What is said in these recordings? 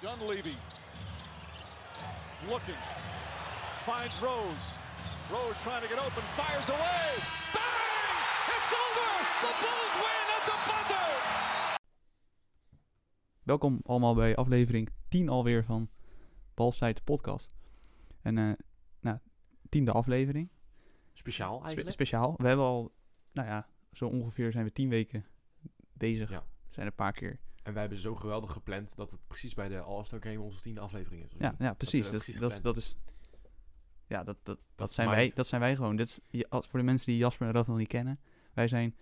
Dunleavy looking, finds Rose. Rose trying to get open, fires away. Bang! It's over! The Bulls win at the buzzer! Welkom allemaal bij aflevering 10 alweer van Balsite Podcast. En eh nou, tiende aflevering. Speciaal Spe- eigenlijk. speciaal. We hebben al, nou ja, zo ongeveer zijn we 10 weken bezig. Ja. We zijn een paar keer. en wij hebben zo geweldig gepland dat het precies bij de All-Star Game onze tiende aflevering is. of Ja, niet? ja precies. hebben Dat, we precies dat, is- gepland. dat is. Ja, dat, dat, dat, is zijn mind. wij, dat zijn wij gewoon. Dit is, je- als, voor de mensen die Jasper en Raf nog niet kennen, wij zijn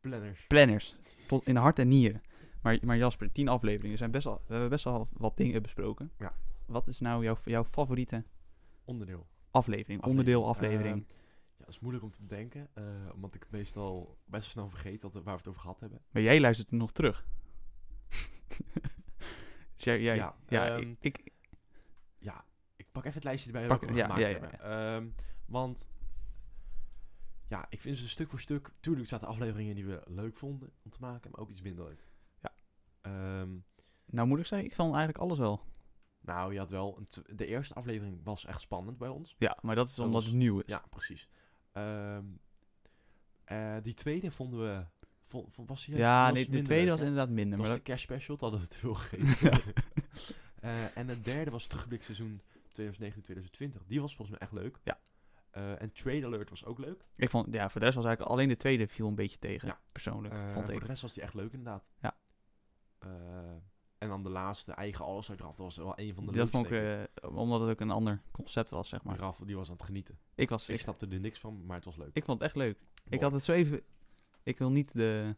Planners. planners. Tot in hart en nieren. Maar, maar Jasper, 10 afleveringen zijn best al. We hebben best al wat dingen besproken. Ja. Wat is nou jouw, jouw favoriete Onderdeel. aflevering, onderdeel aflevering? Ehm, ja, dat is moeilijk om te bedenken. eh, omdat ik het meestal best wel snel vergeet dat, waar we het over gehad hebben. Maar jij luistert het nog terug. dus jij, jij, ja, Ja, ehm, ik, ik- Ja, ik pak even het lijstje erbij Pak- wat we ja, gemaakt ja, ja, hebben. Ehm, want ja, ik vind ze stuk voor stuk. Tuurlijk zaten afleveringen die we leuk vonden om te maken, maar ook iets minder leuk. Ja. Ehm, nou moet ik zeggen, ik vond eigenlijk alles wel. nou, je had wel. Een tw- de eerste aflevering was echt spannend bij ons. Ja, maar dat is Dat omdat was- het nieuw is. Ja, precies. Ehm, eh, die tweede vonden we. vo- vo- was die Ja, was nee, de minder tweede leuk, was hè? inderdaad minder. Dat Maar was de dat, cash special, dat hadden we te veel gegeten. Eh, en de derde was terugblik seizoen 2019-2020. Die was volgens mij echt leuk. Ja. Eh, en Trade Alert was ook leuk. ik vond, ja, voor de rest was eigenlijk alleen de tweede viel een beetje tegen, Ja. persoonlijk, Eh, en vond voor ik. de rest was die echt leuk inderdaad. Ja. Eh, en dan de laatste, eigen alles uit Raf. Dat was wel een van de Dat leukste, vond ik, denk ik. eh, omdat het ook een ander concept was, zeg Maar maar. Raf, die was aan het genieten. Ik, was, Ik ik, snapte er niks van, maar het was leuk. ik vond het echt leuk. Ik Mooi. had het zo even... Ik wil niet de,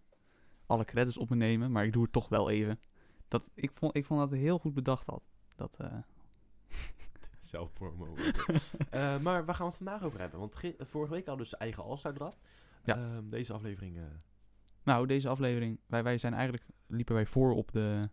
alle credits op me nemen, maar ik doe het toch wel even. Dat, ik, vond, ik vond dat hij heel goed bedacht had. Dat, eh, Zelf voor Eh, maar waar gaan we het vandaag over hebben? Want ge- vorige week hadden we dus eigen All-Star draft. Ja. Ehm, deze aflevering eh, Nou, deze aflevering, wij, wij zijn eigenlijk, liepen wij voor op de,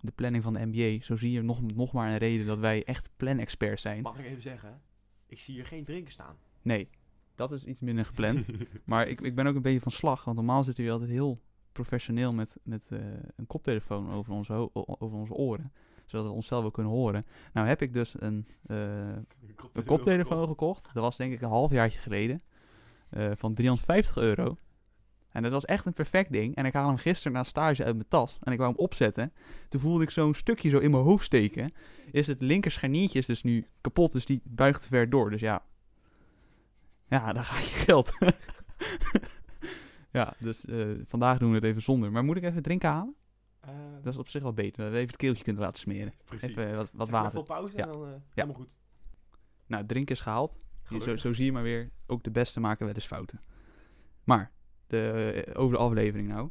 de planning van de NBA. Zo zie je nog, nog maar een reden dat wij echt planexperts zijn. mag ik even zeggen. Ik zie hier geen drinken staan. Nee, dat is iets minder gepland. maar ik, ik ben ook een beetje van slag, want normaal zitten we altijd heel professioneel met, met eh, een koptelefoon over onze, ho- o- over onze oren. Zodat we onszelf wel kunnen horen. Nou heb ik dus een, eh, Een een koptelefoon gekocht. Dat was denk ik een halfjaartje geleden. eh, van 350 euro. En dat was echt een perfect ding. En ik haalde hem gisteren na stage uit mijn tas. En ik wou hem opzetten. Toen voelde ik zo'n stukje zo in mijn hoofd steken. Is het linker scharniertje is dus nu kapot. Dus die buigt te ver door. Dus ja. Ja, daar ga je geld. ja, dus eh, vandaag doen we het even zonder. Maar moet ik even drinken halen? Eh, Dat is op zich wel beter. Dat we even het keeltje kunnen laten smeren. precies. Even eh, wat, wat Zeg maar water. Even pauze Ja. en dan eh, helemaal goed. Nou, drinken is gehaald. Je- Zo, Gelukkig. zo zie je maar weer, ook de beste maken wel eens fouten. Maar, de, eh, over de aflevering nou.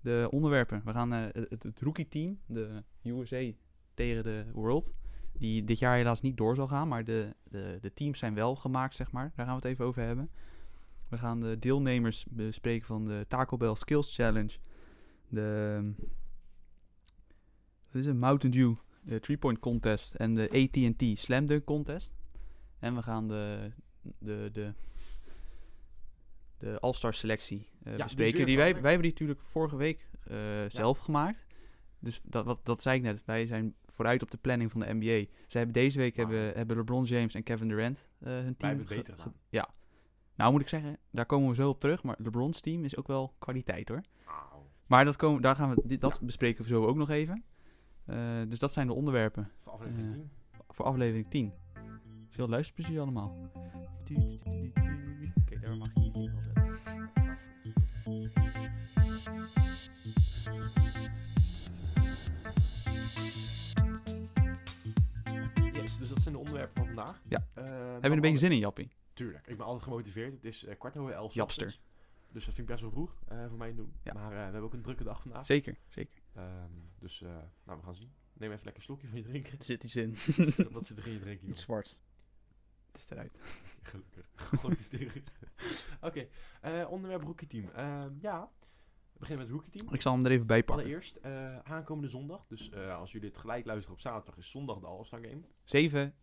De onderwerpen. We gaan eh, het, het rookie team, de USA tegen de World. Die dit jaar helaas niet door zal gaan, maar de, de, de teams zijn wel gemaakt, zeg maar. Daar gaan we het even over hebben. We gaan de deelnemers bespreken van de Taco Bell Skills Challenge. De, ehm, wat is het? Mountain Dew eh, Three Point Contest en de AT&T Slam Dunk Contest. En we gaan de, de, de, de All-Star selectie eh, die is bespreken. Die weer wij, belangrijk. wij hebben die natuurlijk vorige week eh, zelf gemaakt. Dus dat, wat, dat zei ik net. Wij zijn vooruit op de planning van de NBA. Ze hebben deze week Wauw. hebben, hebben LeBron James en Kevin Durant eh, hun team. Ah. Wij hebben ge- het beter ge- gedaan. Ja. Nou moet ik zeggen, daar komen we zo op terug. Maar LeBron's team is ook wel kwaliteit hoor. Auw. Maar dat, komen, daar gaan we, dit, dat bespreken we zo ook nog even. Eh, dus dat zijn de onderwerpen Voor aflevering Eh, 10. voor aflevering 10. Veel luisterplezier allemaal. Oké, daar mag je niet wel zetten. Yes, dus dat zijn de onderwerpen van vandaag. Ja. Eh, Heb je een beetje zin in, Jappie? Tuurlijk, ik ben altijd gemotiveerd. Het is eh, kwart over elf. 's Japster. ochtends. Dus dat vind ik best wel vroeg eh, voor mij doen. Ja. Maar eh, we hebben ook een drukke dag vandaag. Zeker, zeker. Ehm, dus eh, nou, we gaan zien. Neem even lekker een slokje van je drinken. Er zit iets in. Wat zit er in je drinken, joh? Iets zwart. Het is eruit. Gelukkig. Gewoon iets tegen. Oké, eh, onderwerp rookie team. Ehm, ja, we beginnen met het rookie team. Ik zal hem er even bij Oh, pakken. Allereerst, eh, aankomende zondag. Dus eh, als jullie het gelijk luisteren op zaterdag, is zondag de All-Star Game. 7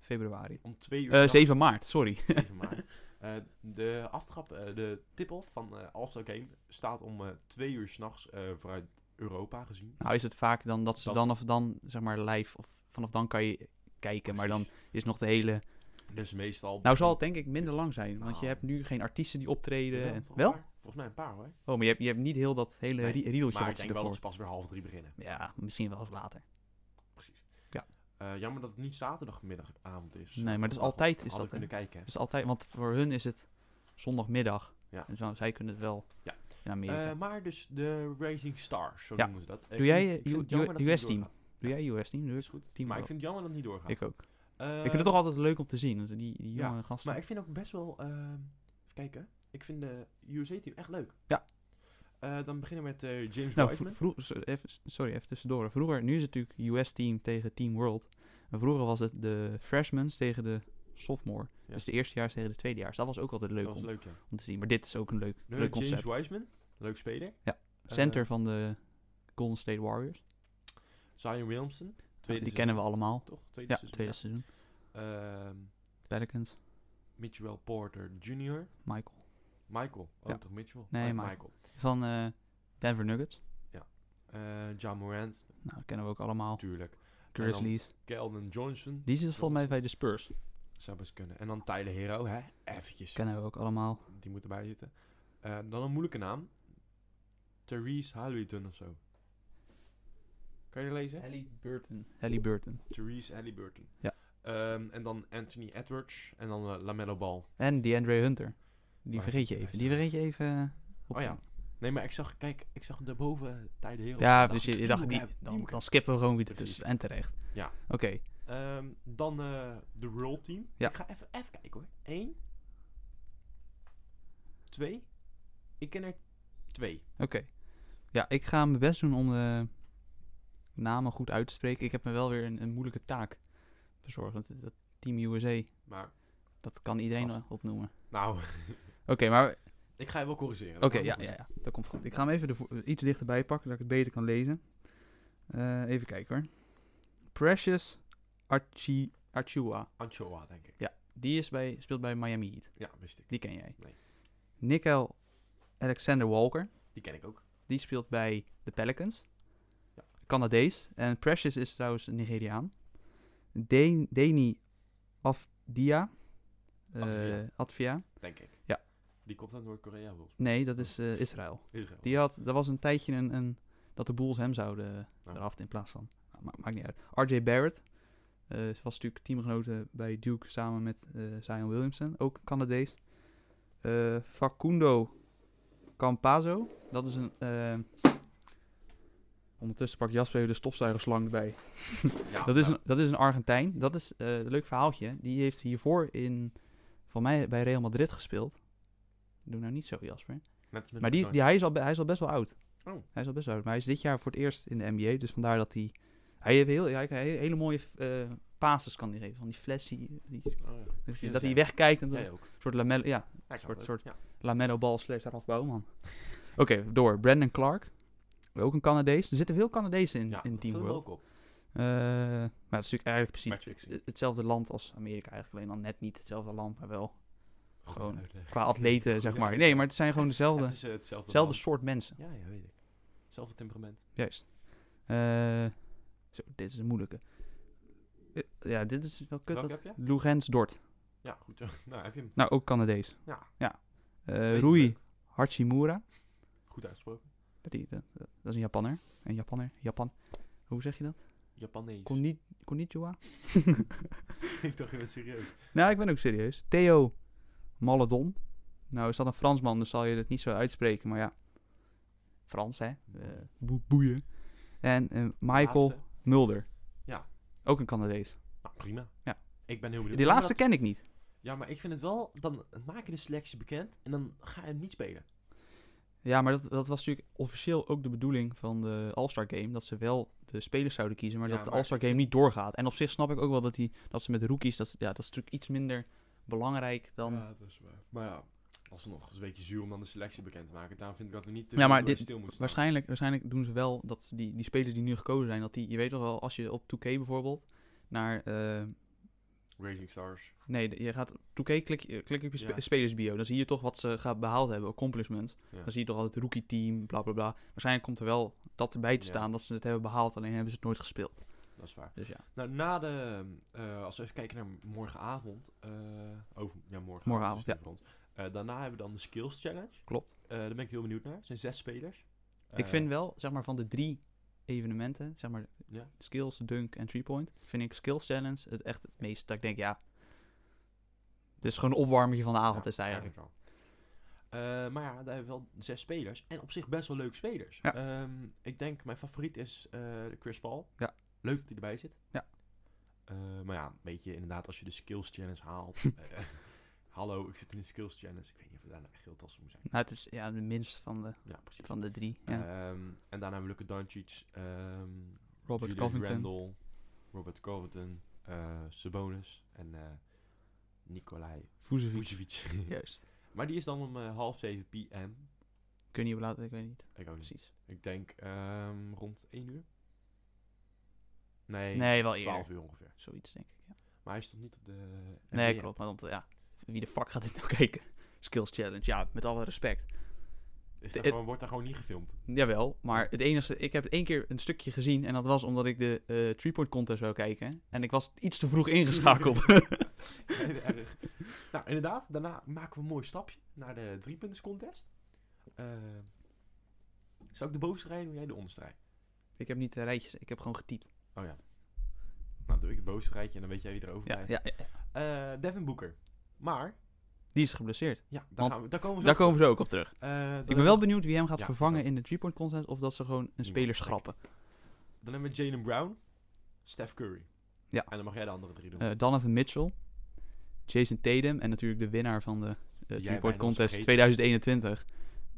februari. Om twee uur. Eh, s'nachts, 7 maart, sorry. 7 maart. Eh, de aftrap, eh, de tip-off van eh All-Star Game staat om eh, twee uur s'nachts eh vooruit Europa gezien. Nou is het vaak dan dat ze Dat- dan of dan, zeg maar, live of vanaf dan kan je kijken. Maar dan is nog de hele... Dus meestal... Nou zal het denk ik minder lang zijn, want je Nou. hebt nu geen artiesten die optreden. Jawel, en- toch een Wel? paar? Volgens mij een paar hoor. Oh, maar je hebt, je hebt niet heel dat hele Nee, ri- riedeltje Maar ik wat ze denk wel dat ervoor... ze pas weer half drie beginnen. Ja, misschien wel eens later. Precies. Ja. Eh, jammer dat het niet zaterdagmiddagavond is. Nee, maar dat is Hadden we altijd... Is Hadden dat, we kunnen kijken. hè? is altijd, want voor hun is het zondagmiddag. Ja. En zo, zij kunnen het wel Ja. in Amerika. Eh, maar dus de Racing Stars, zo Ja. noemen ze dat. Ik Doe vind- jij, ik eh, vind het U- jammer U- dat het niet US-team? doorgaat. Doe jij US niet? Dus Is goed. team Maar ik wel. vind het jammer dat het niet doorgaat. Ik ook. Eh, ik vind het toch altijd leuk om te zien, want die, die jonge ja, gasten. Maar ik vind ook best wel... ehm, even kijken. Ik vind de USA-team echt leuk. Ja. Eh, dan beginnen we met eh, James Nou, Wiseman. vro- vro- so- even, sorry, even tussendoor. Vroeger, nu is het natuurlijk US-team tegen Team World. En vroeger was het de freshmans tegen de sophomore. Ja. Dus de eerstejaars tegen de tweedejaars. Dat was ook altijd leuk dat om, was leuk, ja. om te zien. Maar dit is ook een leuk, Nu leuk heb je concept. James Wiseman. Leuk speler. Ja. Eh, Center van de Golden State Warriors. Zion Williamson. Tweede die kennen seizoen, we allemaal. Toch? Tweede Ja, seizoen, tweede seizoen. Ehm, Pelicans, Mitchell Porter Jr. Michael. Michael. Oh, Ja. toch Mitchell? Nee, Mi- Michael. Van eh, Denver Nuggets. Eh, Ja Morant, Nou, dat kennen we ook allemaal. natuurlijk. Grizzlies. Keldon Johnson. Die zit volgens mij bij de Spurs. Zou best kunnen. En dan Tyler Hero, hè? Eventjes. Kennen we ook allemaal. Die moet erbij zitten. Eh, dan een moeilijke naam. Therese Halliburton of zo. Kan je lezen? Halliburton. Halliburton. Therese Halliburton. Eh. Ja. Ehm, en dan Anthony Edwards. En dan eh, Lamello Ball. En DeAndre Hunter. Die hij vergeet zit- je hij even. zit Die er. vergeet je even. eh, op Oh te- ja. Nee, maar ik zag, kijk, ik zag daarboven Tyler Hero. Ja, staan. dus je, je Die dacht, moet die, ik hebben, die dan, moet ik dan skippen we gewoon weer Precies. tussen. En terecht. Ja. Oké. Ehm, dan eh, de World Team. Ja. Ik ga even, even kijken hoor. Eén. Twee. Ik ken er twee. Oké. Ja, ik ga mijn best doen om de namen goed uit te spreken. Ik heb me wel weer een, een moeilijke taak bezorgd. Want dat Team USA, Maar, dat kan iedereen Gast. wel opnoemen. nou, Oké, maar... ik ga je wel corrigeren. Oké, ja, ja, ja, dat komt goed. Ik ga hem even de vo- iets dichterbij pakken, zodat ik het beter kan lezen. Eh, even kijken hoor. Precious Archie, Archua. Anchoa, denk ik. Die is bij, speelt bij Miami Heat. Ja, wist ik. Die ken jij. Nee. Nickel Alexander Walker. Die ken ik ook. Die speelt bij de Pelicans. Ja. Canadees. En Precious is trouwens een Nigeriaan. Deni Deni Afdia. Eh, Advia. Advia. Denk ik. Ja. Die komt uit Noord-Korea volgens mij. Nee, dat is eh, Israël. Israël. Die had, dat was een tijdje een, een, dat de Bulls hem zouden Oh. eraf in plaats van. Maar ma- maakt niet uit. RJ Barrett. eh, was natuurlijk teamgenoten bij Duke samen met eh, Zion Williamson. Ook Canadees. Eh, Facundo Campazo. Dat is een... eh, ondertussen pak Jasper even de stofzuigerslang erbij. Ja, Dat is, nou, een, dat is een Argentijn. Dat is eh, een leuk verhaaltje. Die heeft hiervoor in, van mij bij Real Madrid gespeeld. Doe nou niet zo, Jasper. net als met Maar die, Jordan. die, hij, is al, be- hij is al best wel oud. Oh. Hij is al best wel oud. Maar hij is dit jaar voor het eerst in de NBA. Dus vandaar dat hij... Hij heeft heel, hij, hij- hele mooie eh passes kan hij geven. Van die flessie. Die, Oh, ja. dat Precies, hij ja. wegkijkt. En dan, Jij ook. een soort lamello, ja, Ja, ik soort- ook. soort- Ja. lamello bal slash Ralf Bouwman. Oké, door. Brandon Clark. Ook een Canadees. Er zitten veel Canadezen in, Ja, in dat Team viel me World. ook op. Eh, maar dat is natuurlijk eigenlijk precies Match fixing. het- hetzelfde land als Amerika eigenlijk. Alleen dan net niet hetzelfde land, maar wel Gewoon gewoon uitleggen. qua atleten, zeg Ja. maar. Nee, maar het zijn gewoon dezelfde, Het is eh, hetzelfde. dezelfde land. soort mensen. Ja, ja, weet ik. Hetzelfde temperament. Juist. Eh, zo, dit is een moeilijke. Eh, ja, dit is wel kut. Welke dat- heb je? Lugens Dort. Ja, goed. Nou, heb je hem. Nou, ook Canadees. Ja. ja. Eh, Weet je Rui leuk. Hachimura. Goed uitgesproken. Dat, die, dat, dat is een Japanner. Een Japanner. Japan. Hoe zeg je dat? Japanees. Konni- Konnichiwa? ik dacht, je bent serieus. Nou, ik ben ook serieus. Theo Maledon. Nou, is dat een Fransman, dus zal je het niet zo uitspreken, maar ja. Frans, hè? Eh, boe- boeien. En eh, Michael Laatste. Mulder. Ja. Ook een Canadees. Nou, prima. Ja. Ik ben heel benieuwd. Die Maar laatste dat- ken ik niet. Ja, maar ik vind het wel... Dan maak je de selectie bekend en dan ga je hem niet spelen. Ja, maar dat, dat was natuurlijk officieel ook de bedoeling van de All-Star Game. Dat ze wel de spelers zouden kiezen, maar Ja, dat de maar All-Star Game niet doorgaat. En op zich snap ik ook wel dat, die, dat ze met rookies, dat, ja, dat is natuurlijk iets minder belangrijk dan... Ja, dat is waar. Maar ja, alsnog. Het is een beetje zuur om dan de selectie bekend te maken. Daarom vind ik dat we niet te Ja, maar veel bij dit- stil moeten staan. waarschijnlijk, waarschijnlijk doen ze wel dat die, die spelers die nu gekozen zijn, dat die... Je weet toch wel, als je op 2K bijvoorbeeld naar eh, Racing Stars. Nee, de- je gaat 2K, klik, je- klik op je spe- Ja. spelersbio. Dan zie je toch wat ze gaan behaald hebben, accomplishments. Ja. Dan zie je toch altijd rookie team, bla bla bla. Waarschijnlijk komt er wel dat erbij te Ja. staan dat ze het hebben behaald, alleen hebben ze het nooit gespeeld. Dat is waar. Dus ja, Nou, na de... eh, als we even kijken naar morgenavond. eh over, ja, morgenavond. Morgenavond, is het voor ons. Eh, daarna hebben we dan de Skills Challenge. Klopt. Eh, daar ben ik heel benieuwd naar. Het zijn zes spelers. ik Eh, vind wel, zeg maar, van de drie evenementen, zeg maar, Ja. skills, dunk en three point, vind ik skills challenge het echt het meest dat ik denk, ja, het is gewoon een opwarming van de avond Ja, is het eigenlijk. wel. Eh, maar ja, daar hebben we wel zes spelers. En op zich best wel leuke spelers. Ja. Ehm, ik denk, mijn favoriet is eh, Chris Paul. Ja. Leuk dat hij erbij zit. Ja. Eh, maar ja, weet je, inderdaad, als je de skills challenge haalt. eh, hallo, ik zit in de skills challenge. Ik weet niet of we daar nou echt heel tastbaar moet zijn. Nou, het is ja, de minst van de, Ja, precies. van de drie. Ja. Ehm, en daarna hebben we Luka Doncic. ehm, Robert Julius Covington. Randle, Robert Covington. eh Sabonis. En eh Nikolai Vucevic. Vucevic. Juist. maar die is dan om eh, half zeven pm. Ik weet niet hoe laat, ik weet niet Ik ook niet. precies. Ik denk ehm, rond 1 uur. Nee, Nee, wel eerder. 12 uur ongeveer. Zoiets denk ik, ja. Maar hij stond niet op de. Nee, NBA. klopt. Maar want, ja, wie de fuck gaat dit nou kijken? Skills Challenge, ja, met alle respect. Is daar Het- gewoon, wordt daar gewoon niet gefilmd. Jawel, maar het enige... Ik heb één keer een stukje gezien en dat was omdat ik de eh three-point contest zou kijken. En ik was iets te vroeg ingeschakeld. Heel erg. nou, inderdaad. Daarna maken we een mooi stapje naar de driepunters contest. Ehm zal ik de bovenste rij doen? Jij de onderste rij? ik heb niet de rijtjes, ik heb gewoon getypt. Oh ja. Nou, doe ik het bovenste rijtje en dan weet jij wie er over Ja, blijft. ja, ja. Eh, Devin Boeker. Maar, Die is geblesseerd. ja, daar, Want gaan we, daar komen we zo Daar op komen we zo ook op terug. terug. Eh, dan Ik ben hebben wel we- benieuwd wie hem gaat Ja, ik vervangen ook. in de three-point contest. Of dat ze gewoon een speler gek. schrappen. Dan hebben we Jalen Brown, Steph Curry. Ja. En dan mag jij de andere drie doen. Eh, Donovan Mitchell, Jason Tatum en natuurlijk de winnaar van de eh bijna was three-point contest vergeten. 2021.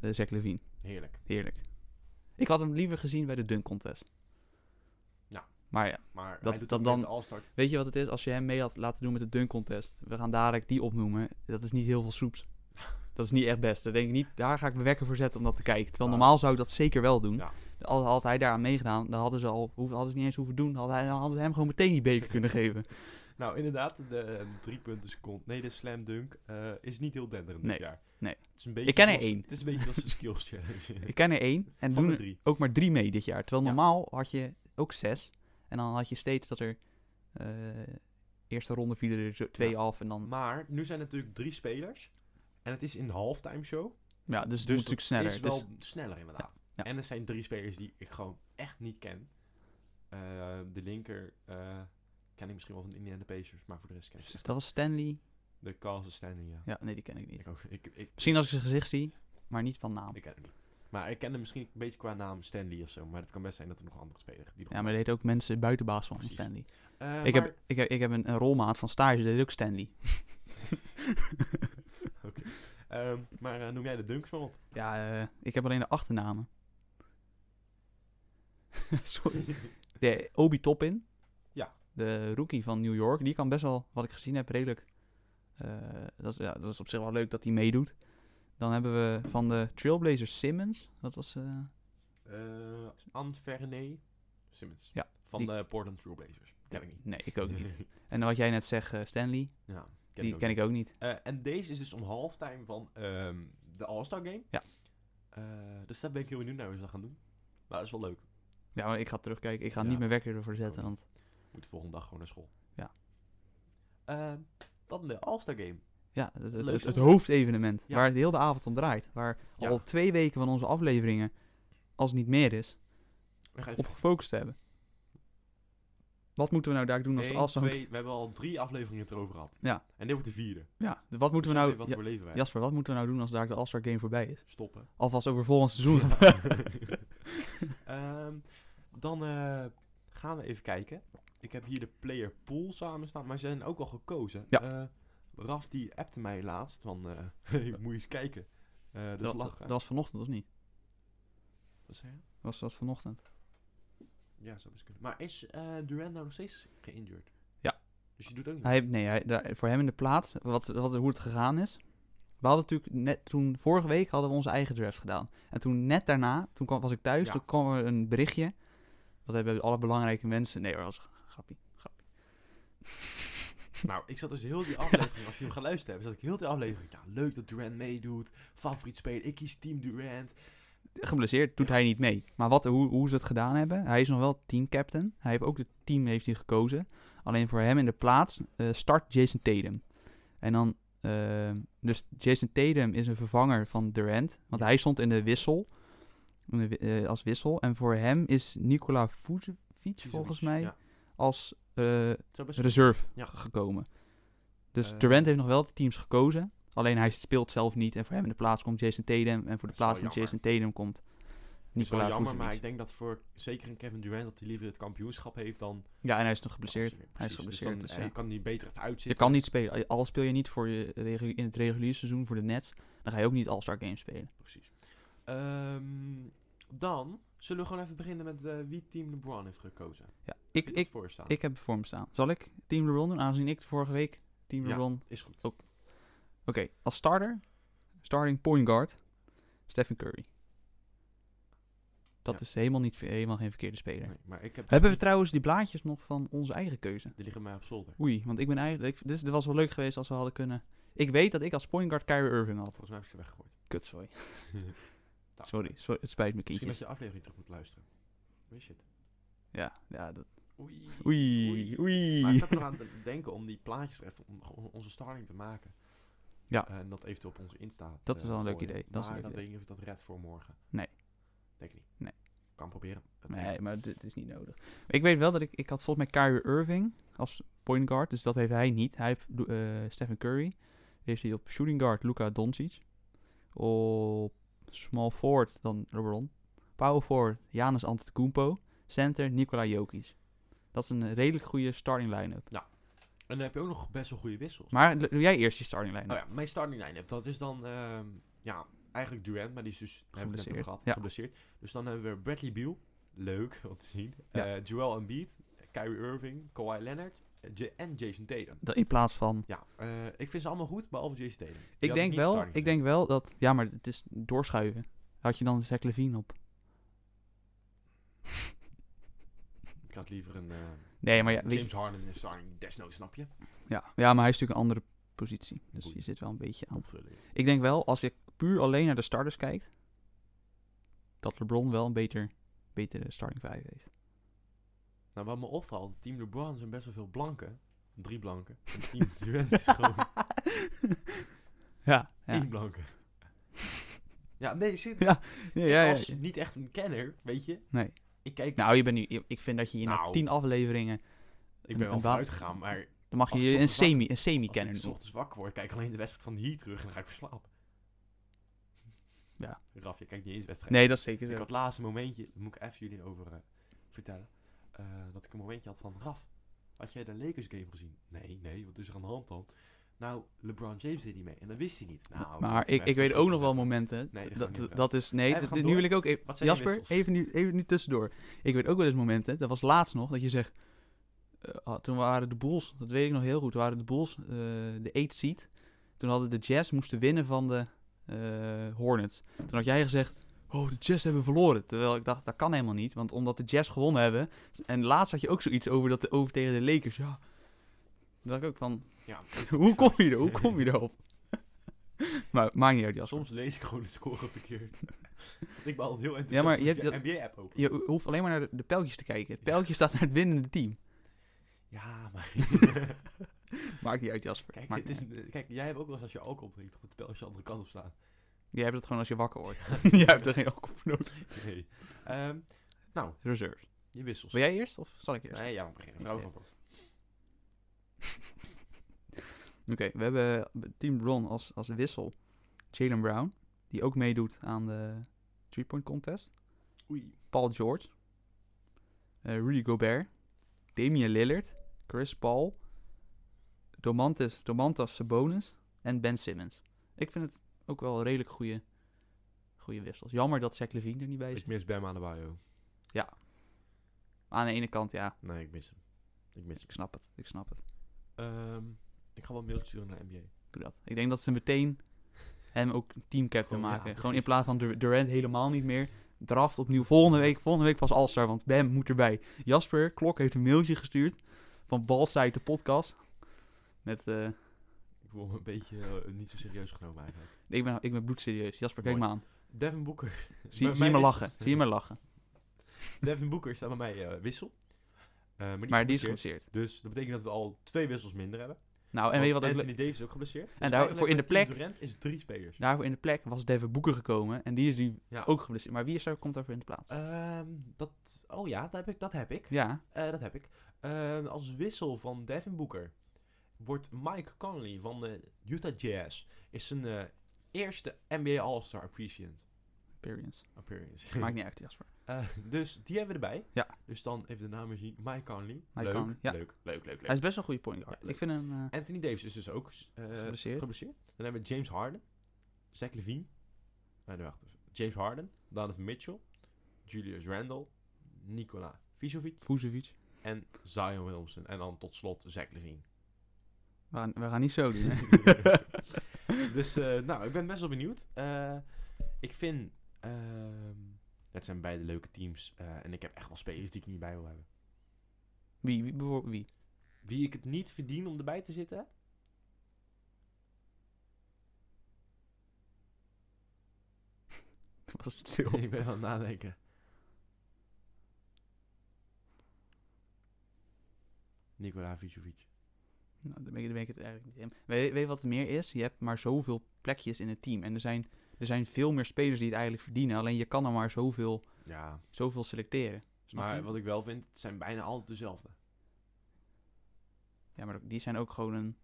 eh Zach Levine. Heerlijk. Heerlijk. Ik had hem liever gezien bij de dunk contest. Ja. Maar ja, Maar Dat- hij doet dat ook met dan- de All-Star. weet je wat het is? Als je hem mee had laten doen met de dunk contest. We gaan dadelijk die opnoemen. Dat is niet heel veel soeps. Dat is niet echt best. Daar, denk ik niet, daar ga ik mijn wekker voor zetten om dat te kijken. Terwijl Ja. normaal zou ik dat zeker wel doen. Ja. Al had hij daaraan meegedaan, dan hadden ze, al, hoef- hadden ze niet eens hoeven doen. Dan hadden, hij- dan hadden ze hem gewoon meteen die beker kunnen geven. Nou, inderdaad, de eh, drie punten seconde. Nee, de slam dunk eh, is niet heel denderend Nee, dit jaar. nee. Het is een beetje Ik ken er zoals- één. Het is een beetje als de skills challenge. Ik ken er één en Van doen de er drie. ook maar drie mee dit jaar. Terwijl Ja. normaal had je ook zes. En dan had je steeds dat er... eh, eerste ronde vielen er zo twee Ja. af en dan... Maar nu zijn er natuurlijk drie spelers. En het is in halftime show. Ja, dus Dus het moet natuurlijk dat sneller. is Het wel is- sneller inderdaad. ja. En er zijn drie spelers die ik gewoon echt niet ken. Eh, de linker eh, ken ik misschien wel van de Indiana Pacers, maar voor de rest ken ik ze. Dus dat was Stanley. De Carlsen Stanley, ja. Ja, nee, die ken ik niet. Ik, ook, ik, ik, Misschien als ik zijn gezicht zie, maar niet van naam. ik ken hem niet. Maar ik ken hem misschien een beetje qua naam Stanley of zo. Maar het kan best zijn dat er nog andere spelers die nog Ja, maar dat heet ook mensen buitenbaas van Precies. Stanley. Eh, ik, maar- heb, ik, heb, ik heb een, een rolmaat van stage, dat heet ook Stanley. ehm, maar eh, noem jij de dunks maar op. Ja, eh, ik heb alleen de achternamen. Sorry. De Obi Toppin. Ja. De rookie van New York. Die kan best wel, wat ik gezien heb, redelijk... eh, dat, is, ja, dat is op zich wel leuk dat hij meedoet. Dan hebben we van de Trailblazer Simmons. Dat was... eh, Eh Anverne Simmons. Ja, Van die- de Portland Trailblazers. Ken ik niet. Nee, ik ook niet. En wat jij net zegt, eh, Stanley. ja, ken Die ik ook ken niet. ik ook niet. Eh, en deze is dus om halftime van ehm, de All-Star Game. Ja. Eh, dus daar ben ik heel benieuwd naar hoe ze dat gaan doen. Maar dat is wel leuk. Ja, maar ik ga terugkijken. Ik ga Ja. Oh. niet mijn wekker ervoor zetten, Ook want Moet de volgende dag gewoon naar school. Ja. Ehm, dan de All-Star Game. ja, het, het, Leuk, het, het hoor. hoofdevenement Ja. waar het heel de avond om draait. Waar Ja. al twee weken van onze afleveringen, als het niet meer is, We gaan even op gefocust hebben. Wat moeten we nou daar doen als de Eén, afstand? twee, we hebben al drie afleveringen het erover gehad. Ja. En dit wordt de vierde. Ja, de- wat moeten we Dus nou... Wat Ja, voor leven wij? Jasper, wat moeten we nou doen als daar de All-Star Game voorbij is? Stoppen. Alvast over volgend seizoen. Ehm, dan eh, gaan we even kijken. Ik heb hier de player pool samen staan, maar ze zijn ook al gekozen. Ja. Eh, Raf die appte mij laatst van, eh, hey, moet je eens kijken. Eh, dat is dat, lachen. dat was vanochtend, of niet? Wat zei je? Was dat vanochtend? Ja, zou best kunnen. Maar is eh Duran nou nog steeds geïnjured? Ja. Dus je doet ook niet Hij, nee, hij, daar, voor hem in de plaats, wat, wat, hoe het gegaan is. We hadden natuurlijk net toen, vorige week hadden we onze eigen draft gedaan. En toen net daarna, toen kwam, was ik thuis, Ja. toen kwam er een berichtje. Dat hebben alle belangrijke mensen. Nee hoor, dat was een grapje. grapje. Nou, ik zat dus heel die aflevering, als jullie hem geluisterd hebben, zat ik heel die aflevering. Ja, leuk dat Durant meedoet. Favoriet speler, ik kies Team Durant. Geblesseerd doet hij niet mee. Maar wat, hoe, hoe ze het gedaan hebben, hij is nog wel teamcaptain. Hij heeft ook het team heeft hij gekozen. Alleen voor hem in de plaats eh, start Jason Tatum. En dan, eh, dus Jason Tatum is een vervanger van Durant. Want hij stond in de wissel, in de wi- eh, als wissel. En voor hem is Nikola Vucevic volgens mij Ja, als eh, zo best reserve Ja. g- gekomen. Dus Eh. Durant heeft nog wel de teams gekozen. Alleen hij speelt zelf niet. En voor hem in de plaats komt Jason Tatum. En voor de is wel plaats van jammer. Jason Tatum komt is wel Nicola jammer, maar ik Vucevic. denk dat voor zeker een Kevin Durant dat hij liever het kampioenschap heeft dan... Ja, en hij is nog geblesseerd. Precies, Hij is dus geblesseerd, dat- dus hij ja. kan niet beter even Je uitzitten. kan niet spelen. Al speel je niet voor je regu- in het reguliere seizoen voor de Nets, dan ga je ook niet All-Star Games spelen. Precies. Ehm, dan zullen we gewoon even beginnen met eh, wie Team LeBron heeft gekozen. Ja, ik, Wie dat ik, voorstaan. ik heb het voor me staan. Zal ik Team LeBron doen, aangezien ik vorige week Team Ja. LeBron... Is goed. Oké, als starter, starting point guard, Stephen Curry. Dat Ja. is helemaal, niet, helemaal geen verkeerde speler. Nee, maar ik heb Hebben we trouwens die blaadjes nog van onze eigen keuze? Die liggen mij op zolder. Oei, want ik ben eigenlijk. ik- Dit dit was wel leuk geweest als we hadden kunnen. Ik weet dat ik als point guard Kyrie Irving had. Volgens mij heb ik ze weggegooid. Kutzooi. Nou, Sorry, sorry, het spijt me Misschien dat kindjes. je de aflevering terug moet luisteren. Weet je het? Ja, ja, dat... Oei. Oei, Maar ik oei. zat er nog aan te denken om die plaatjes er even om, om onze starting te maken. Eh, Ja. En dat eventueel op onze Insta. Dat te is wel een leuk gooien. idee, dat is een maar leuk dan idee. weet ik niet of ik dat red voor morgen. Nee. Denk ik niet. Nee. Kan proberen. Dat denk ik. Nee, maar dit is niet nodig. Ik weet wel dat ik. Ik had volgens mij Kyrie Irving als point guard, dus dat heeft hij niet. Hij heeft eh, Stephen Curry. Heeft hij op shooting guard Luka Doncic. Op small forward dan LeBron. Power forward Giannis Antetokounmpo. Center Nikola Jokic. Dat is een eh, redelijk goede starting line-up. En dan heb je ook nog best wel goede wissels. Maar l- doe jij eerst die starting Oh line-up? ja, mijn starting line-up, dat is dan ehm, ja, eigenlijk Durant, maar die is dus, daar hebben we het net Geblesseerd, over gehad, ja. geblesseerd. Dus dan hebben we Bradley Beal, leuk om te zien. Ja. Eh, Joel Embiid, Kyrie Irving, Kawhi Leonard eh, Ja- en Jason Tatum. Dat In plaats van. Ja, eh, ik vind ze allemaal goed, behalve Jason Tatum. Die had Ik denk, niet wel, starting ik denk wel dat. Ja, maar het is doorschuiven. Had je dan Zach Levine op? gezet. Ik had liever een eh, Nee, maar ja, weet je, James Harden in de starting, desnoods, snap je? Ja. ja, maar hij is natuurlijk een andere positie. Dus Boeien. je zit wel een beetje aan. Opvullen. Ik denk wel, als je puur alleen naar de starters kijkt, dat LeBron wel een beter, betere starting 5 heeft. Nou, wat me opvalt, team LeBron zijn best wel veel blanken. Drie blanken. En team Durant is gewoon Ja, ja. één blanke. Ja, nee, zit, ja, Ik ja, ja. was niet echt een kenner, weet je. Nee. Ik kijk, Nou, je bent nu, je- ik vind dat je hier na Nou. 10 afleveringen, ik ben wel een ba- vooruit gegaan, maar dan mag je Als ik je een ochtends wakker- semi, een semi als ik kennen. s ochtends wakker word, kijk ik alleen de wedstrijd van hier terug en dan ga ik weer slapen. Ja. Raf, je kijkt niet eens wedstrijd. Nee, dat is zeker Ik had zo. het laatste momentje, daar moet ik even jullie over eh, vertellen, eh, dat ik een momentje had van, Raf, had jij de Lakers game gezien? Nee, nee, wat is er aan de hand dan? Nou, LeBron James deed niet mee en dat wist hij niet. Nou, Maar ik, ik weet ook nog wel momenten. Nee, dat gaan we dat, niet dat, doen. dat is. Nee, Hey, we dat- gaan nu door. wil ik ook. Even, Wat zijn je Jasper, wissels? even nu, even nu tussendoor. Ik weet ook wel eens momenten. Dat was laatst nog dat je zegt. eh, ah, toen waren de Bulls, dat weet ik nog heel goed. Toen waren de Bulls eh, de 8 seed. Toen hadden de Jazz moesten winnen van de eh, Hornets. Toen had jij gezegd. Oh, de Jazz hebben verloren. Terwijl ik dacht, dat kan helemaal niet. Want omdat de Jazz gewonnen hebben. En laatst had je ook zoiets over, dat, over tegen de Lakers. Ja. Toen dacht ik ook van. Ja, Hoe kom je er? Hoe kom je erop? maar maakt niet uit, Jasper. Soms lees ik gewoon de score verkeerd. Want ik ben altijd heel enthousiast Ja, maar je als ik hebt de NBA-app open. Je ho- hoeft alleen maar naar de, de pijltjes te kijken. Het pijltje staat naar het winnende team. Ja, maar... Maakt niet uit, Jasper. Kijk, Maakt het niet is, een- kijk, jij hebt ook wel eens als je alcohol drinkt, dat het pijltje de andere kant op staat. uit. Jij hebt het gewoon als je wakker wordt. Jij hebt er geen alcohol voor nodig. Nee. Ehm, nou, Reserves. je wisselt. Wil jij eerst of zal ik eerst? Nee, ja, we beginnen. Vrouw van Bord. Oké, we hebben Team Bron als, als wissel. Jalen Brown, die ook meedoet aan de three-point contest. Oei. Paul George. Eh, Rudy Gobert. Damian Lillard. Chris Paul. Domantas, Domantas Sabonis. En Ben Simmons. Ik vind het ook wel redelijk goede, goede wissels. Jammer dat Zach Levine er niet bij is. Ik mis Bam aan de bio. Aan de ene kant, ja, Nee, ik mis hem. Ik mis ik snap het. Ik snap het. hem. Ehm, ik ga wel een mailtje sturen naar de NBA. Doe dat. Ik denk dat ze meteen hem ook teamcaptain Gewoon, Oh, ja, maken. precies. Gewoon in plaats van Dur- Durant helemaal niet meer. Draft opnieuw volgende week. Volgende week pas All-Star, want Bam moet erbij. Jasper Klok heeft een mailtje gestuurd van Balsite de podcast. Met, eh, Ik voel me een beetje eh, niet zo serieus genomen eigenlijk. ik, ben, ik ben bloedserieus. Jasper, kijk Mooi. me aan. Devin Booker. Zie, Bij zie je me mij is- lachen. Zie je me lachen. Devin Booker staat bij mij eh, wissel. Eh, maar die is Maar die is geblesseerd. geblesseerd. Dus dat betekent dat we al twee wissels minder hebben. Nou, en weet je wat ook Want le- Anthony Davis is ook geblesseerd. Dus daar- eigenlijk voor in met de Team plek- Durant is drie spelers. Daarvoor in de plek was Devin Boeken gekomen. En die is nu Ja. ook geblesseerd. Maar wie is daar, komt daarvoor in de plaats? Ehm, dat, oh ja, dat heb ik. Dat heb ik. ja, Eh, dat heb ik. Ehm, als wissel van Devin Booker wordt Mike Conley van de Utah Jazz is zijn eh, eerste NBA All-Star appreciant- experience. appearance. Maakt niet uit, Jasper. Eh, dus die hebben we erbij. Ja. Dus dan even de namen zien. Mike Conley. Mike leuk, Conley, ja. leuk, leuk, leuk, Hij leuk. is best wel een goede point guard. Ja, ik vind hem... eh, Anthony Davis is dus ook eh, Geblesseerd. geblesseerd. Dan hebben we James Harden. Zach Levine. Eh, nee, wacht even. James Harden. Donovan Mitchell. Julius Randle. Nikola Vucevic. Vucevic. En Zion Williamson. En dan tot slot Zach Levine. We gaan, we gaan niet zo doen, hè. dus eh, nou, ik ben best wel benieuwd. Eh, ik vind. ehm, het zijn beide leuke teams. eh, en ik heb echt wel spelers die ik niet bij wil hebben. Wie, wie, bijvoorbeeld wie? Wie ik het niet verdien om erbij te zitten. Toen was het stil. ik ben aan het nadenken. Nikola Vucevic. Nou, dan ben ik, dan ben ik het eigenlijk niet in. Weet, weet je wat het meer is? Je hebt maar zoveel plekjes in het team. En er zijn, er zijn veel meer spelers die het eigenlijk verdienen. Alleen je kan er maar zoveel, Ja, zoveel selecteren. Snap maar je? wat ik wel vind, het zijn bijna altijd dezelfde. Ja, maar die zijn ook gewoon een...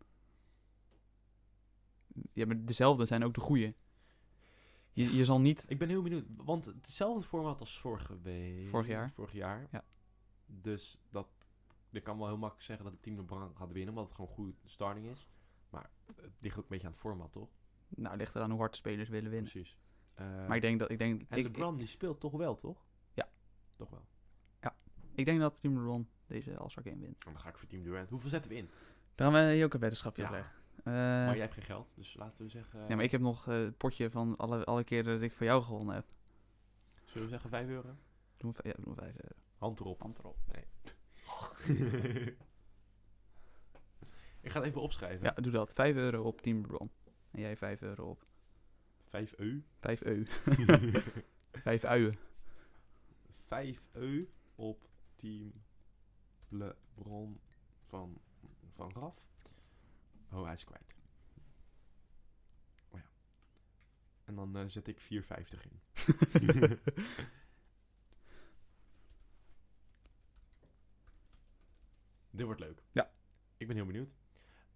Ja, maar dezelfde zijn ook de goeie. Je, je zal niet... Ik ben heel benieuwd, want hetzelfde format als vorige week. Vorig jaar. Vorig jaar. Ja. Dus dat, ik kan wel heel makkelijk zeggen dat het team LeBron gaat winnen, omdat het gewoon een goede starting is. Maar het ligt ook een beetje aan het format, toch? Nou, ligt eraan hoe hard de spelers willen winnen. Precies. Eh, Maar ik denk dat... Ik denk, en ik, LeBron die speelt toch wel, toch? Ja. Toch wel. ik, ik denk dat Team LeBron deze All-Star Game wint. En dan ga ik voor team Durant. Hoeveel zetten we in? Dan hebben we hier ook een weddenschapje Ja. opleggen. maar Eh, jij hebt geen geld, dus laten we zeggen... ja, maar ik heb nog eh, het potje van alle, alle keren dat ik voor jou gewonnen heb. Zullen we zeggen 5 euro? Doen we, vij- ja, doen we vijf euro. Hand erop. Hand erop. ik ga het even opschrijven. Ja, doe dat. 5 euro op Team LeBron. En jij 5 euro op. 5 eu. 5 eu. 5 uien. 5 eu E op team LeBron van, van Raf. Oh, hij is kwijt. Oh ja. En dan eh, zet ik 4,50 in. Dit wordt leuk. Ja. Ik ben heel benieuwd.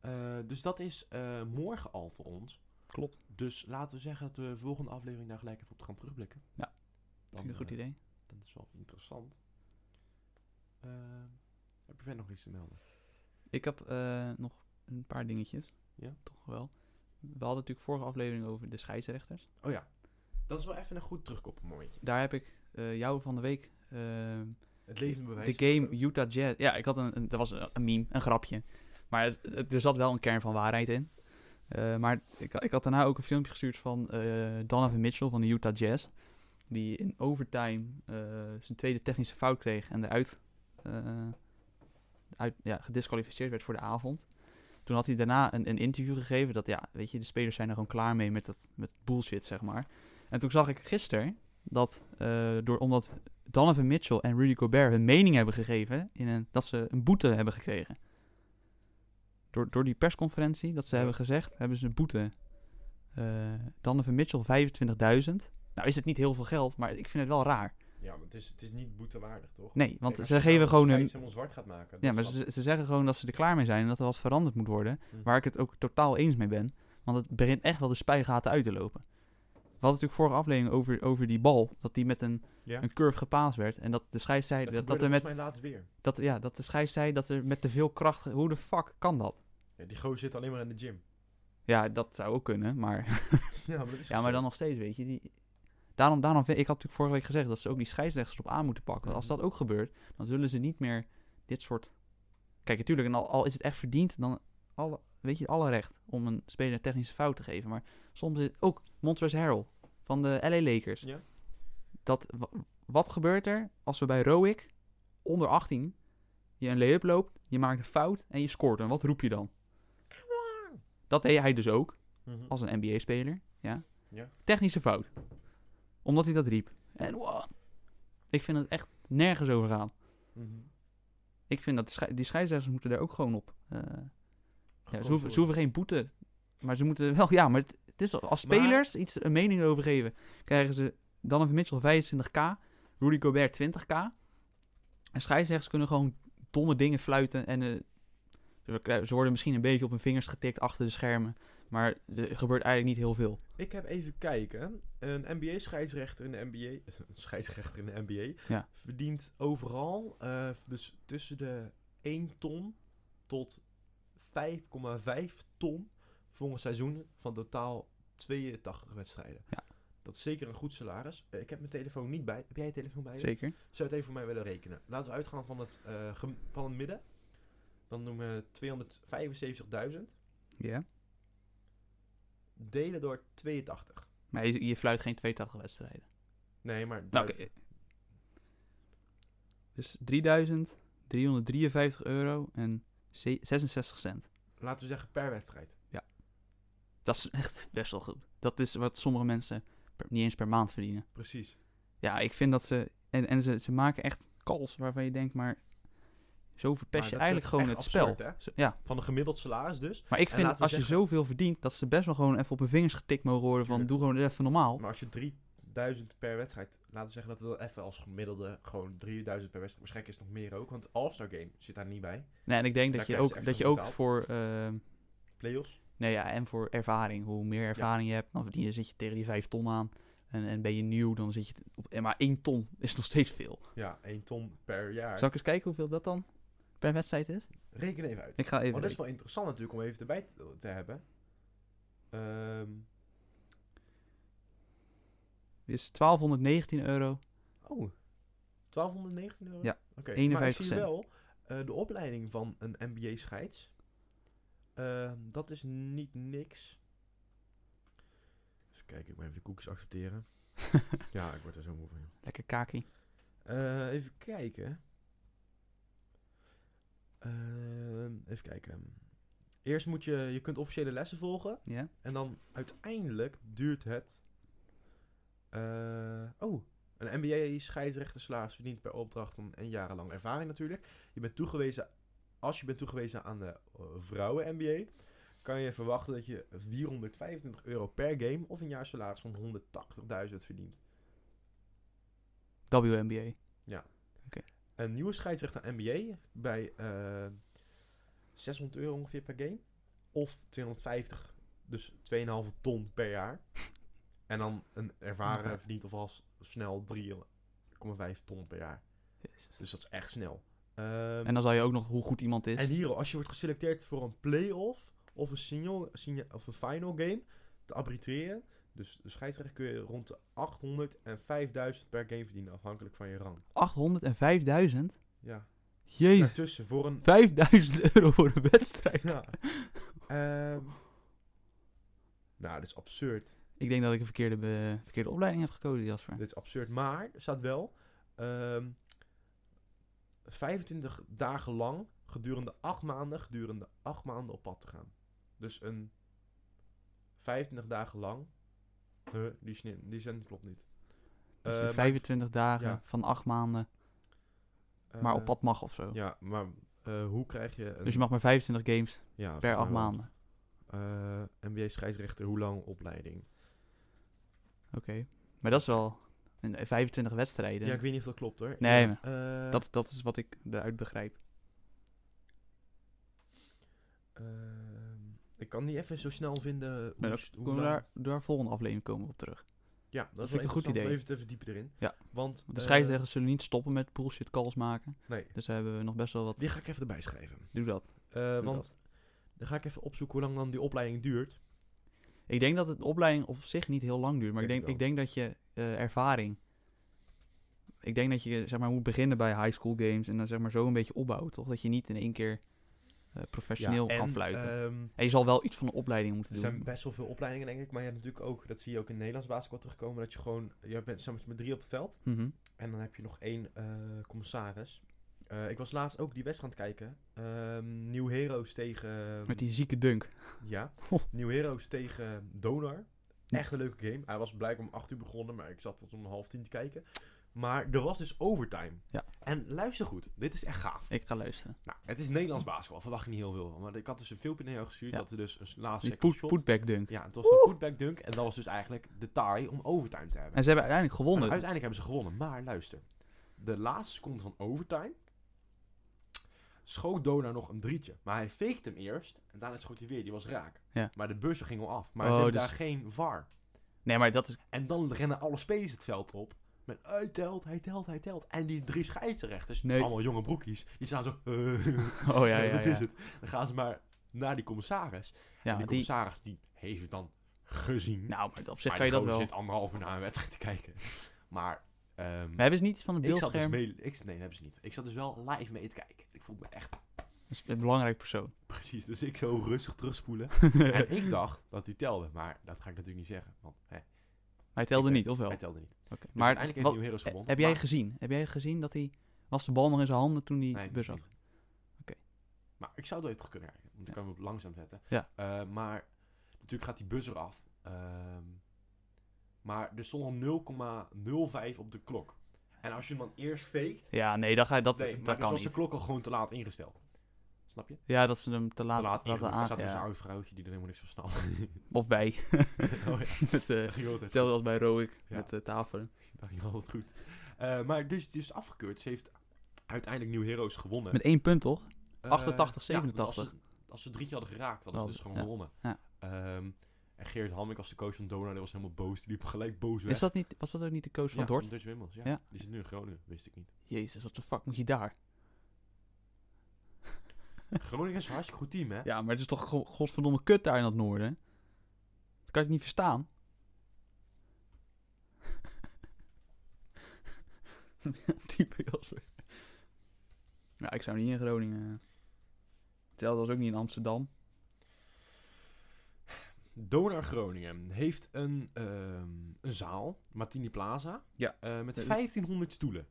Eh, dus dat is eh, morgen al voor ons. Klopt. Dus laten we zeggen dat we de volgende aflevering daar gelijk even op gaan terugblikken. Ja. Dan, een goed eh, idee. dat is wel interessant. Ehm, heb je verder nog iets te melden? Ik heb eh, nog een paar dingetjes. Ja? Toch wel. We hadden natuurlijk vorige aflevering over de scheidsrechters. Oh ja, dat is wel even een goed terugkoppelmomentje. Daar heb ik eh, jou van de week... eh, Het levend de bewijs. game Utah Jazz. Ja, ik had een, een- dat was een, een meme, een grapje. Maar het- het- er zat wel een kern van waarheid in. Eh, maar ik, ik had daarna ook een filmpje gestuurd van eh, Donovan Mitchell van de Utah Jazz. Die in overtime eh, zijn tweede technische fout kreeg en eruit eh, uit, ja, gedisqualificeerd werd voor de avond. Toen had hij daarna een, een interview gegeven dat, ja, weet je, de spelers zijn er gewoon klaar mee met, dat, met bullshit, zeg maar. En toen zag ik gisteren dat, eh, door, omdat Donovan Mitchell en Rudy Gobert hun mening hebben gegeven in een, dat ze een boete hebben gekregen. Door, door die persconferentie dat ze Ja. hebben gezegd, hebben ze een boete. Eh Donovan Mitchell 25.000. Nou is het niet heel veel geld, maar ik vind het wel raar. Ja, maar het is, het is niet boetewaardig, toch? Nee, want ze geven gewoon een... hun... nou helemaal zwart gaat maken. Ja, maar ze, ze zeggen gewoon dat ze er klaar mee zijn en dat er wat veranderd moet worden. Hm. Waar ik het ook totaal eens mee ben. Want het begint echt wel de spijgaten uit te lopen. We hadden natuurlijk vorige aflevering over, over die bal. Dat die met een, Ja. een curve gepaasd werd. En dat de scheids zei dat, dat, dat, er met, mij laatst weer. dat, ja, dat de scheids zei dat er met te veel kracht... Hoe de fuck kan dat? Ja, die gozer zit alleen maar in de gym. Ja, dat zou ook kunnen. Maar, Ja, maar, dat is ja, maar dan nog steeds, weet je. Die, daarom, daarom vind ik... had natuurlijk vorige week gezegd dat ze ook die scheidsrechters op aan moeten pakken. Want als Mhm. dat ook gebeurt, dan zullen ze niet meer dit soort... Kijk, natuurlijk, en al, al is het echt verdiend, dan alle, weet je, alle recht om een speler een technische fout te geven. Maar soms is ook Montrezl Harrell van de LA Lakers. Ja. Dat, wa- wat gebeurt er als we bij Roik onder 18 je een lay-up loopt, je maakt een fout en je scoort? En wat roep je dan? Dat deed hij dus ook, Mhm. als een NBA-speler. Ja. Ja. Technische fout. Omdat hij dat riep. En wow, ik vind het echt nergens over gaan. Ik vind dat de schei- die scheidsrechters moeten daar ook gewoon op. eh, ja, ze, hoeven, ze hoeven geen boete. Maar ze moeten wel, ja, maar het, het is al- als Maar- spelers iets een mening erover geven, krijgen ze Donovan Mitchell 25k, Rudy Gobert 20k. En scheidsrechters kunnen gewoon domme dingen fluiten en eh, ze krij- ze worden misschien een beetje op hun vingers getikt achter de schermen, maar er gebeurt eigenlijk niet heel veel. Ik heb even kijken. Een NBA-scheidsrechter in de NBA... Een scheidsrechter in de NBA... Ja. Verdient overal eh, dus tussen de 1 ton tot 5,5 ton voor een seizoen van totaal 82 wedstrijden. Ja. Dat is zeker een goed salaris. Eh, ik heb mijn telefoon niet bij. Heb jij je telefoon bij je? Zeker. Zou je het even voor mij willen rekenen? Laten we uitgaan van het, eh, gem- van het midden. Dan noemen we 275.000. Ja. Delen door 82. Maar je, je fluit geen 82 wedstrijden. Nee, maar... Nou, oké. Dus 3.353 euro en ze- 66 cent. laten we zeggen per wedstrijd. Dat is echt best wel goed. Dat is wat sommige mensen per- niet eens per maand verdienen. Precies. Ja, ik vind dat ze. En, en ze, ze maken echt calls waarvan je denkt, maar. Zo verpest Maar je dat- eigenlijk dat is gewoon het echt spel. absurd, Zo- ja, Van een gemiddeld salaris dus. maar ik En vind laten we als je zeggen- zoveel verdient dat ze best wel gewoon even op hun vingers getikt mogen worden. Van doe Tuurlijk. gewoon even normaal. Maar als je 3000 per wedstrijd... Laten we zeggen dat we dat even als gemiddelde... Gewoon 3000 per wedstrijd. Waarschijnlijk is het nog meer ook. Want All-Star Game zit daar niet bij. nee, en ik denk dat daar je krijgen ze ook, extra dat je ook betaald. voor. ehm, Playoffs. nee, ja, en voor ervaring. Hoe meer ervaring je hebt, dan verdien je, zit je tegen die 5 ton aan. En, en ben je nieuw, dan zit je. Op, en maar 1 ton is nog steeds veel. Ja, 1 ton per jaar. Zal ik eens kijken hoeveel dat dan per wedstrijd is? Reken even uit. Ik ga even. Maar Oh, dat rekenen. is wel interessant natuurlijk om even erbij te, te hebben. Ehm, is 1219 euro. oh, 1219 euro? Ja, Oké, Maar ik 51 zie cent. wel, eh, de opleiding van een MBA-scheids, Ehm, dat is niet niks. Even kijken, ik moet even de koekjes accepteren. ja, ik word er zo moe van. joh. Lekker kaki. Eh, even kijken. Ehm, even kijken. Eerst moet je, je kunt officiële lessen volgen. Ja. En dan uiteindelijk duurt het. eh, oh, een MBA-scheidsrechtersalaris verdient per opdracht een, een jarenlang ervaring natuurlijk. Je bent toegewezen, als je bent toegewezen aan de eh, vrouwen-MBA, kan je verwachten dat je 425 euro per game of een jaarsalaris van 180.000 verdient. WNBA. Een nieuwe scheidsrechter MBA bij eh 600 euro ongeveer per game. Of 250, dus 2,5 ton per jaar. En dan een Oké. ervaren verdient alvast snel 3,5 ton per jaar. Dus dat is echt snel. Ehm, En dan zal je ook nog hoe goed iemand is. en hier, als je wordt geselecteerd voor een play-off of een, single, single- of een final game te arbitreren, dus de scheidsrechter kun je rond de 800 en 5000 per game verdienen, afhankelijk van je rang. 805.000? Ja, Jezus. daartussen voor een 5000 euro voor een wedstrijd. Ja. Ehm. nou, dit is absurd. Ik denk dat ik een verkeerde, be- verkeerde opleiding heb gekozen, Jasper. Dit is absurd. Maar er staat wel ehm, 25 dagen lang gedurende 8 maanden, gedurende 8 maanden op pad te gaan. Dus een 25 dagen lang. Huh, die, is niet- die zin klopt niet. Dus Eh, je maar- 25 dagen ja. van 8 maanden, maar op eh, pad mag of zo. Ja, maar eh, hoe krijg je een. Dus je mag maar 25 games ja, per volgens 8 mij wel. maanden. Eh, MBA scheidsrechter, hoe lang opleiding? Oké. Maar dat is wel een- 25 wedstrijden. Ja, ik weet niet of dat klopt hoor. Nee, ja, eh, dat, dat is wat ik eruit begrijp. Ehm, ik kan niet even zo snel vinden hoe, Maar dat, s- hoe kunnen we lang- daar, daar volgende aflevering komen we op terug. Ja, dat, vind ik een goed interessant om idee. even te verdiepen erin. Ja. Want, Want de eh, scheidsrechters zullen niet stoppen met bullshit calls maken. nee, Dus daar hebben we nog best wel wat. die ga ik even erbij schrijven. Doe dat. Eh, Doe want dan ga ik even opzoeken hoe lang dan die opleiding duurt. Ik denk dat het de opleiding op zich niet heel lang duurt. Maar ik Denk denk, het ik denk dat je eh, ervaring. Ik denk dat je zeg maar, moet beginnen bij high school games. En dan zeg maar zo een beetje opbouwt. Toch? Dat je niet in één keer eh, professioneel en, kan fluiten. ehm, en je zal wel iets van een opleiding moeten er doen. zijn best wel veel opleidingen, denk ik. Maar je hebt natuurlijk ook, dat zie je ook in het Nederlands basketbal terugkomen, dat je gewoon, je bent soms met drie op het veld. Mhm. En dan heb je nog één eh, commissaris. Eh, ik was laatst ook die wedstrijd aan het kijken. Ehm Nieuw Heroes tegen... Met die zieke dunk. Ja. Oh. Nieuw Heroes tegen Donar. Echt een leuke game. Hij was blijkbaar om 8 uur begonnen, maar ik zat pas om half tien te kijken. Maar er was dus overtime. Ja. En luister goed, dit is echt gaaf. Ik ga luisteren. Nou, Het is Nederlands basketbal, verwacht je niet heel veel van. Maar ik had dus een filmpje naar jou gestuurd Ja. dat er dus een laatste Die second put, shot- putback dunk. Ja, het was een putback dunk en dat was dus eigenlijk de tie om overtime te hebben. En ze hebben uiteindelijk Nou, gewonnen. uiteindelijk hebben ze gewonnen, maar luister. De laatste seconde van overtime schoot Dona nog een drietje. Maar hij fakte hem eerst en daarna schoot hij weer. Die was raak. Ja. Maar de bussen gingen al af. Maar Oh, ze hebben dus- daar geen VAR. Nee, maar dat is... Oh, En dan rennen alle spelers het veld op. Met hij telt, hij telt, hij telt. En die drie scheidsrechters, Nee. allemaal jonge broekies, die staan zo... "Eh, Oh ja, ja, dat ja. is het. Dan gaan ze maar naar die commissaris. Ja, en die maar die... commissaris die heeft het dan gezien. Nou, maar op zich Maar kan je dat die wel. gozer zit anderhalf uur na een wedstrijd te kijken. Maar... ehm, We hebben ze niet van het ik zat dus beeldscherm. mee... Ik, nee, dat hebben ze niet. Ik zat dus wel live mee te kijken. Ik voelde me echt... Dat is een belangrijk persoon. Precies, dus ik zo rustig terugspoelen. en ik dacht dat hij telde, maar dat ga ik natuurlijk niet zeggen. Want hè, Hij telde ik- niet, of wel? hij telde niet. Dus Oké. maar Maar uiteindelijk heeft wat- Nieuw Heroes eh, gewonnen. heb jij maar- gezien? Heb jij gezien dat hij... Was de bal nog in zijn handen toen die Nee, bus niet. af? Maar ik zou het wel even terug kunnen kijken. Want ik kan hem op langzaam zetten. Ja. Eh, maar natuurlijk gaat die bus eraf. Ehm, maar er stond al 0,05 op de klok. En als je hem dan eerst faked... Ja, nee, dat, ga, je- dat, Nee, maar dat dan kan was de niet. klok al gewoon te laat ingesteld. Snap je? Ja, dat ze hem te laat, te laat laten ingesteld. Er aan. zat dus een ja. oud vrouwtje die er helemaal niks van snapte. Of bij. oh ja, Met, eh, dat ging altijd hetzelfde als bij Roik Ja. met de tafelen. Dat ging altijd goed. Eh, maar dus, dus is afgekeurd. Ze heeft uiteindelijk New Heroes gewonnen. Met één punt, toch? Eh, 88, ja, want 87. als, ze, als ze drietje hadden geraakt, hadden Hadden- ze dus gewoon ja, gewonnen. ja. Ehm, en Geert Hamming als de coach van Dona, die was helemaal boos. Die liep gelijk boos weg. Is dat niet, was dat ook niet de coach Ja, van Dort? Dutch Wimmels, ja. Ja. Die zit nu in Groningen, wist ik niet. Jezus, wat de fuck moet je daar? Groningen is een hartstikke goed team, hè? Ja, maar het is toch go- godverdomme kut daar in dat noorden? hè? Dat kan ik niet verstaan. Type Jasper. Ja, ik zou niet in Groningen... Hetzelfde als ook niet in Amsterdam. Donar Groningen heeft een, ehm, een zaal, Martini Plaza, Ja. eh, met Eh, 1500 stoelen.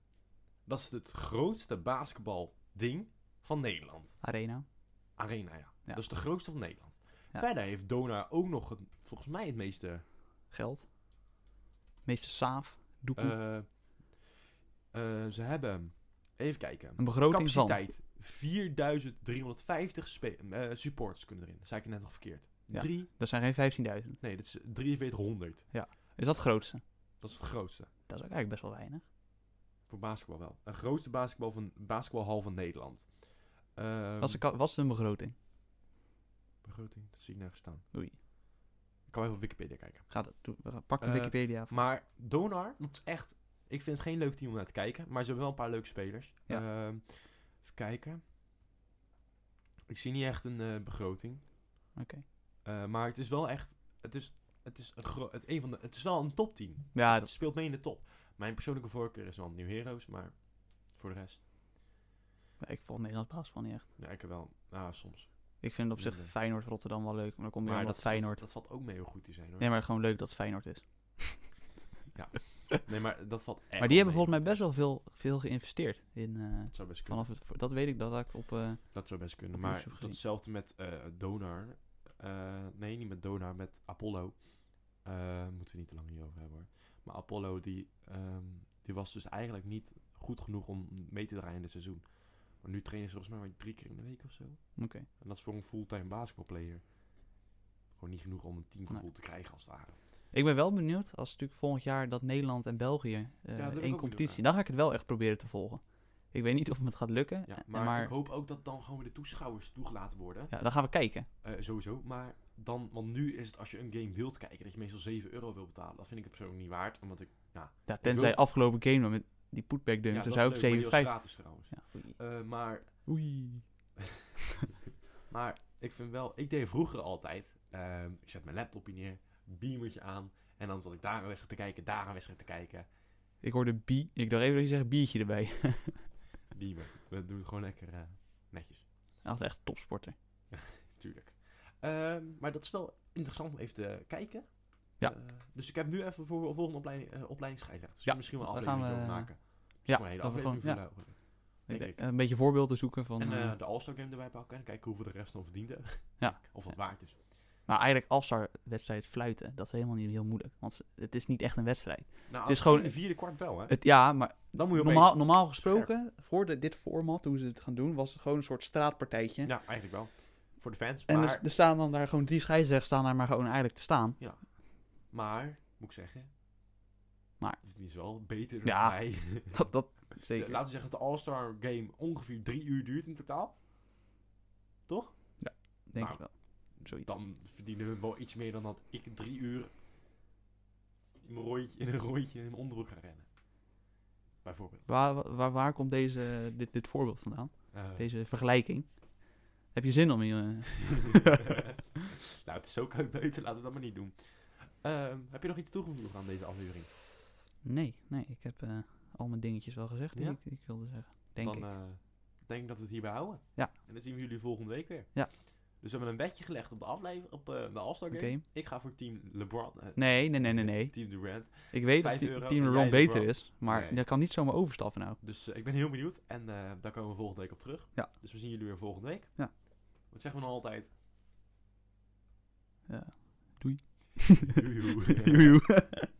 Dat is het grootste basketbalding van Nederland. Arena. Arena, ja. Ja. Dat is de grootste van Nederland. Ja. Verder heeft Donar ook nog het, volgens mij het meeste... Geld. Meester Saaf. Doekoe. eh, eh, ze hebben, even kijken, een begroting van... capaciteit 4350 spe- eh, supporters kunnen erin. zei ik net nog verkeerd. Ja. Drie, Dat zijn geen 15.000. nee, dat is eh, 4300. Is dat het grootste? Dat is het grootste. Dat is ook eigenlijk best wel weinig. Ehm. Voor basketbal wel. Een grootste basketbal van, basketbalhal van Nederland. Ehm, Was, de, ka- was het een begroting? Begroting, dat zie ik nergens staan. Oei. Ik kan wel even op Wikipedia kijken. Ga dat, doe- we gaan- pak de Eh, Wikipedia af. Maar Donar, dat is echt... Ik vind het geen leuk team om naar te kijken. Maar ze hebben wel een paar leuke spelers. Ja. Ehm, even kijken. Ik zie niet echt een eh, begroting. Oké. Eh, maar het is wel echt... Het is, het is, een, gro- het, een van de, het is wel een topteam. Ja, Het dat, speelt mee in de top. Mijn persoonlijke voorkeur is wel New Heroes. Maar voor de rest... ik volg Nederlands basketbal niet echt. Ja, ik heb wel... Ah, soms. Ik vind op zich Minder. Feyenoord Rotterdam wel leuk, maar dan kom je weer omdat Mm-hmm. dat, Feyenoord. dat, dat valt ook mee heel goed te zijn hoor. Nee, maar gewoon leuk dat het Feyenoord is. Nee, maar dat valt echt maar die hebben wel mee. volgens mij best wel veel, veel geïnvesteerd in. eh, Dat zou best kunnen. vanaf het, voor- dat weet ik, dat had ik op. eh, Dat zou best kunnen. op Maar YouTube gezien. datzelfde met eh, Donar. Eh, nee, niet met Donar, met Apollo. Eh, moeten we niet te lang hierover hebben hoor. Maar Apollo, die, ehm, die was dus eigenlijk niet goed genoeg om mee te draaien in dit seizoen. Maar nu trainen ze volgens mij maar drie keer in de week of zo. Oké. En dat is voor een fulltime basketbalplayer gewoon niet genoeg om een teamgevoel te krijgen als het ware. Ik ben wel benieuwd als natuurlijk volgend jaar dat Nederland en België eh, wil ik ook één benieuwd competitie. naar. Dan ga ik het wel echt proberen te volgen. Ik weet niet of me het gaat lukken. Ja, eh, maar, maar- ik hoop ook dat dan gewoon de toeschouwers toegelaten worden. ja, dan gaan we kijken. Eh, sowieso, maar dan, want nu is het als je een game wilt kijken, dat je meestal 7 euro wil betalen. Dat vind ik het persoonlijk niet waard, omdat ik... Ja, tenzij wil- afgelopen game dan met die putback dunk, ja, dan dat zou ik is leuk, maar die 7,5. Ja, was gratis trouwens. oei. Eh, maar, Oei. maar ik vind wel, ik deed vroeger altijd, ehm, ik zet mijn laptopje neer, beamertje aan, en dan zat ik daar een wedstrijd te kijken, daar een wedstrijd te kijken. Ik hoorde bie. Ik dacht even dat je zegt biertje erbij. Beamer, we doen het gewoon lekker eh, netjes, Hij was echt een topsporter. tuurlijk. Ehm, maar dat is wel interessant om even te kijken. Ja. Eh, dus ik heb nu even voor de volgende opleiding, eh, opleiding scheidsrechter. Dus Ja, misschien wel een dan aflevering gaan over we- eh, maken. ja, Misschien wel een hele dat we aflevering gewoon- voor eh. de- Denk denk- ik. Een beetje voorbeelden zoeken van... En eh, eh, de All-Star Game erbij pakken en kijken hoeveel de rest nog verdiende. Ja. Of het waard is. Maar eigenlijk als er wedstrijd fluiten, dat is helemaal niet heel moeilijk. Want ze- het is niet echt een wedstrijd. Nou, Het is in gewoon- de vierde kwart wel, hè? Het, ja, maar Dan moet je opeens... normaal, normaal gesproken, voor de, dit format, hoe ze het gaan doen, was het gewoon een soort straatpartijtje. Ja, eigenlijk wel. Voor de fans. En maar, er, er staan dan daar gewoon drie scheidsrechters staan daar maar gewoon eigenlijk te staan. maar, moet ik zeggen... Maar- Het is wel beter Ja, dan wij. Dat, dat De- zeker. Laten we zeggen dat de All-Star Game ongeveer drie uur duurt in totaal. denk nou, ik wel. Zoiets. Dan verdienen we wel iets meer dan dat ik drie uur in, mijn rondje, in een rondje in mijn onderbroek ga rennen. Bijvoorbeeld. Waar, waar, waar komt deze, dit, dit voorbeeld vandaan? Eh, Deze vergelijking? Heb je zin om hier... eh, nou, het is zo koud buiten, laten we dat maar niet doen. Ehm, heb je nog iets toegevoegd aan deze aflevering? Nee, nee, ik heb eh, al mijn dingetjes wel gezegd die Ja? ik, ik wilde zeggen. Denk dan ik. eh, denk ik dat we het hierbij houden. Ja. En dan zien we jullie volgende week weer. Ja. Dus we hebben een wetje gelegd op de aflevering, op eh, de All-Star Game. Oké. Ik ga voor team LeBron. eh, Nee, nee, nee, nee, nee. Team Durant. Ik weet dat Vijf die- euro Team en LeBron jij beter LeBron. is, maar Nee. dat kan niet zomaar overstappen nou. Dus eh, ik ben heel benieuwd. En eh, daar komen we volgende week op terug. Ja. Dus we zien jullie weer volgende week. Ja. Wat zeggen we nou altijd? Ja. Doei. Joejoe. Joejoe.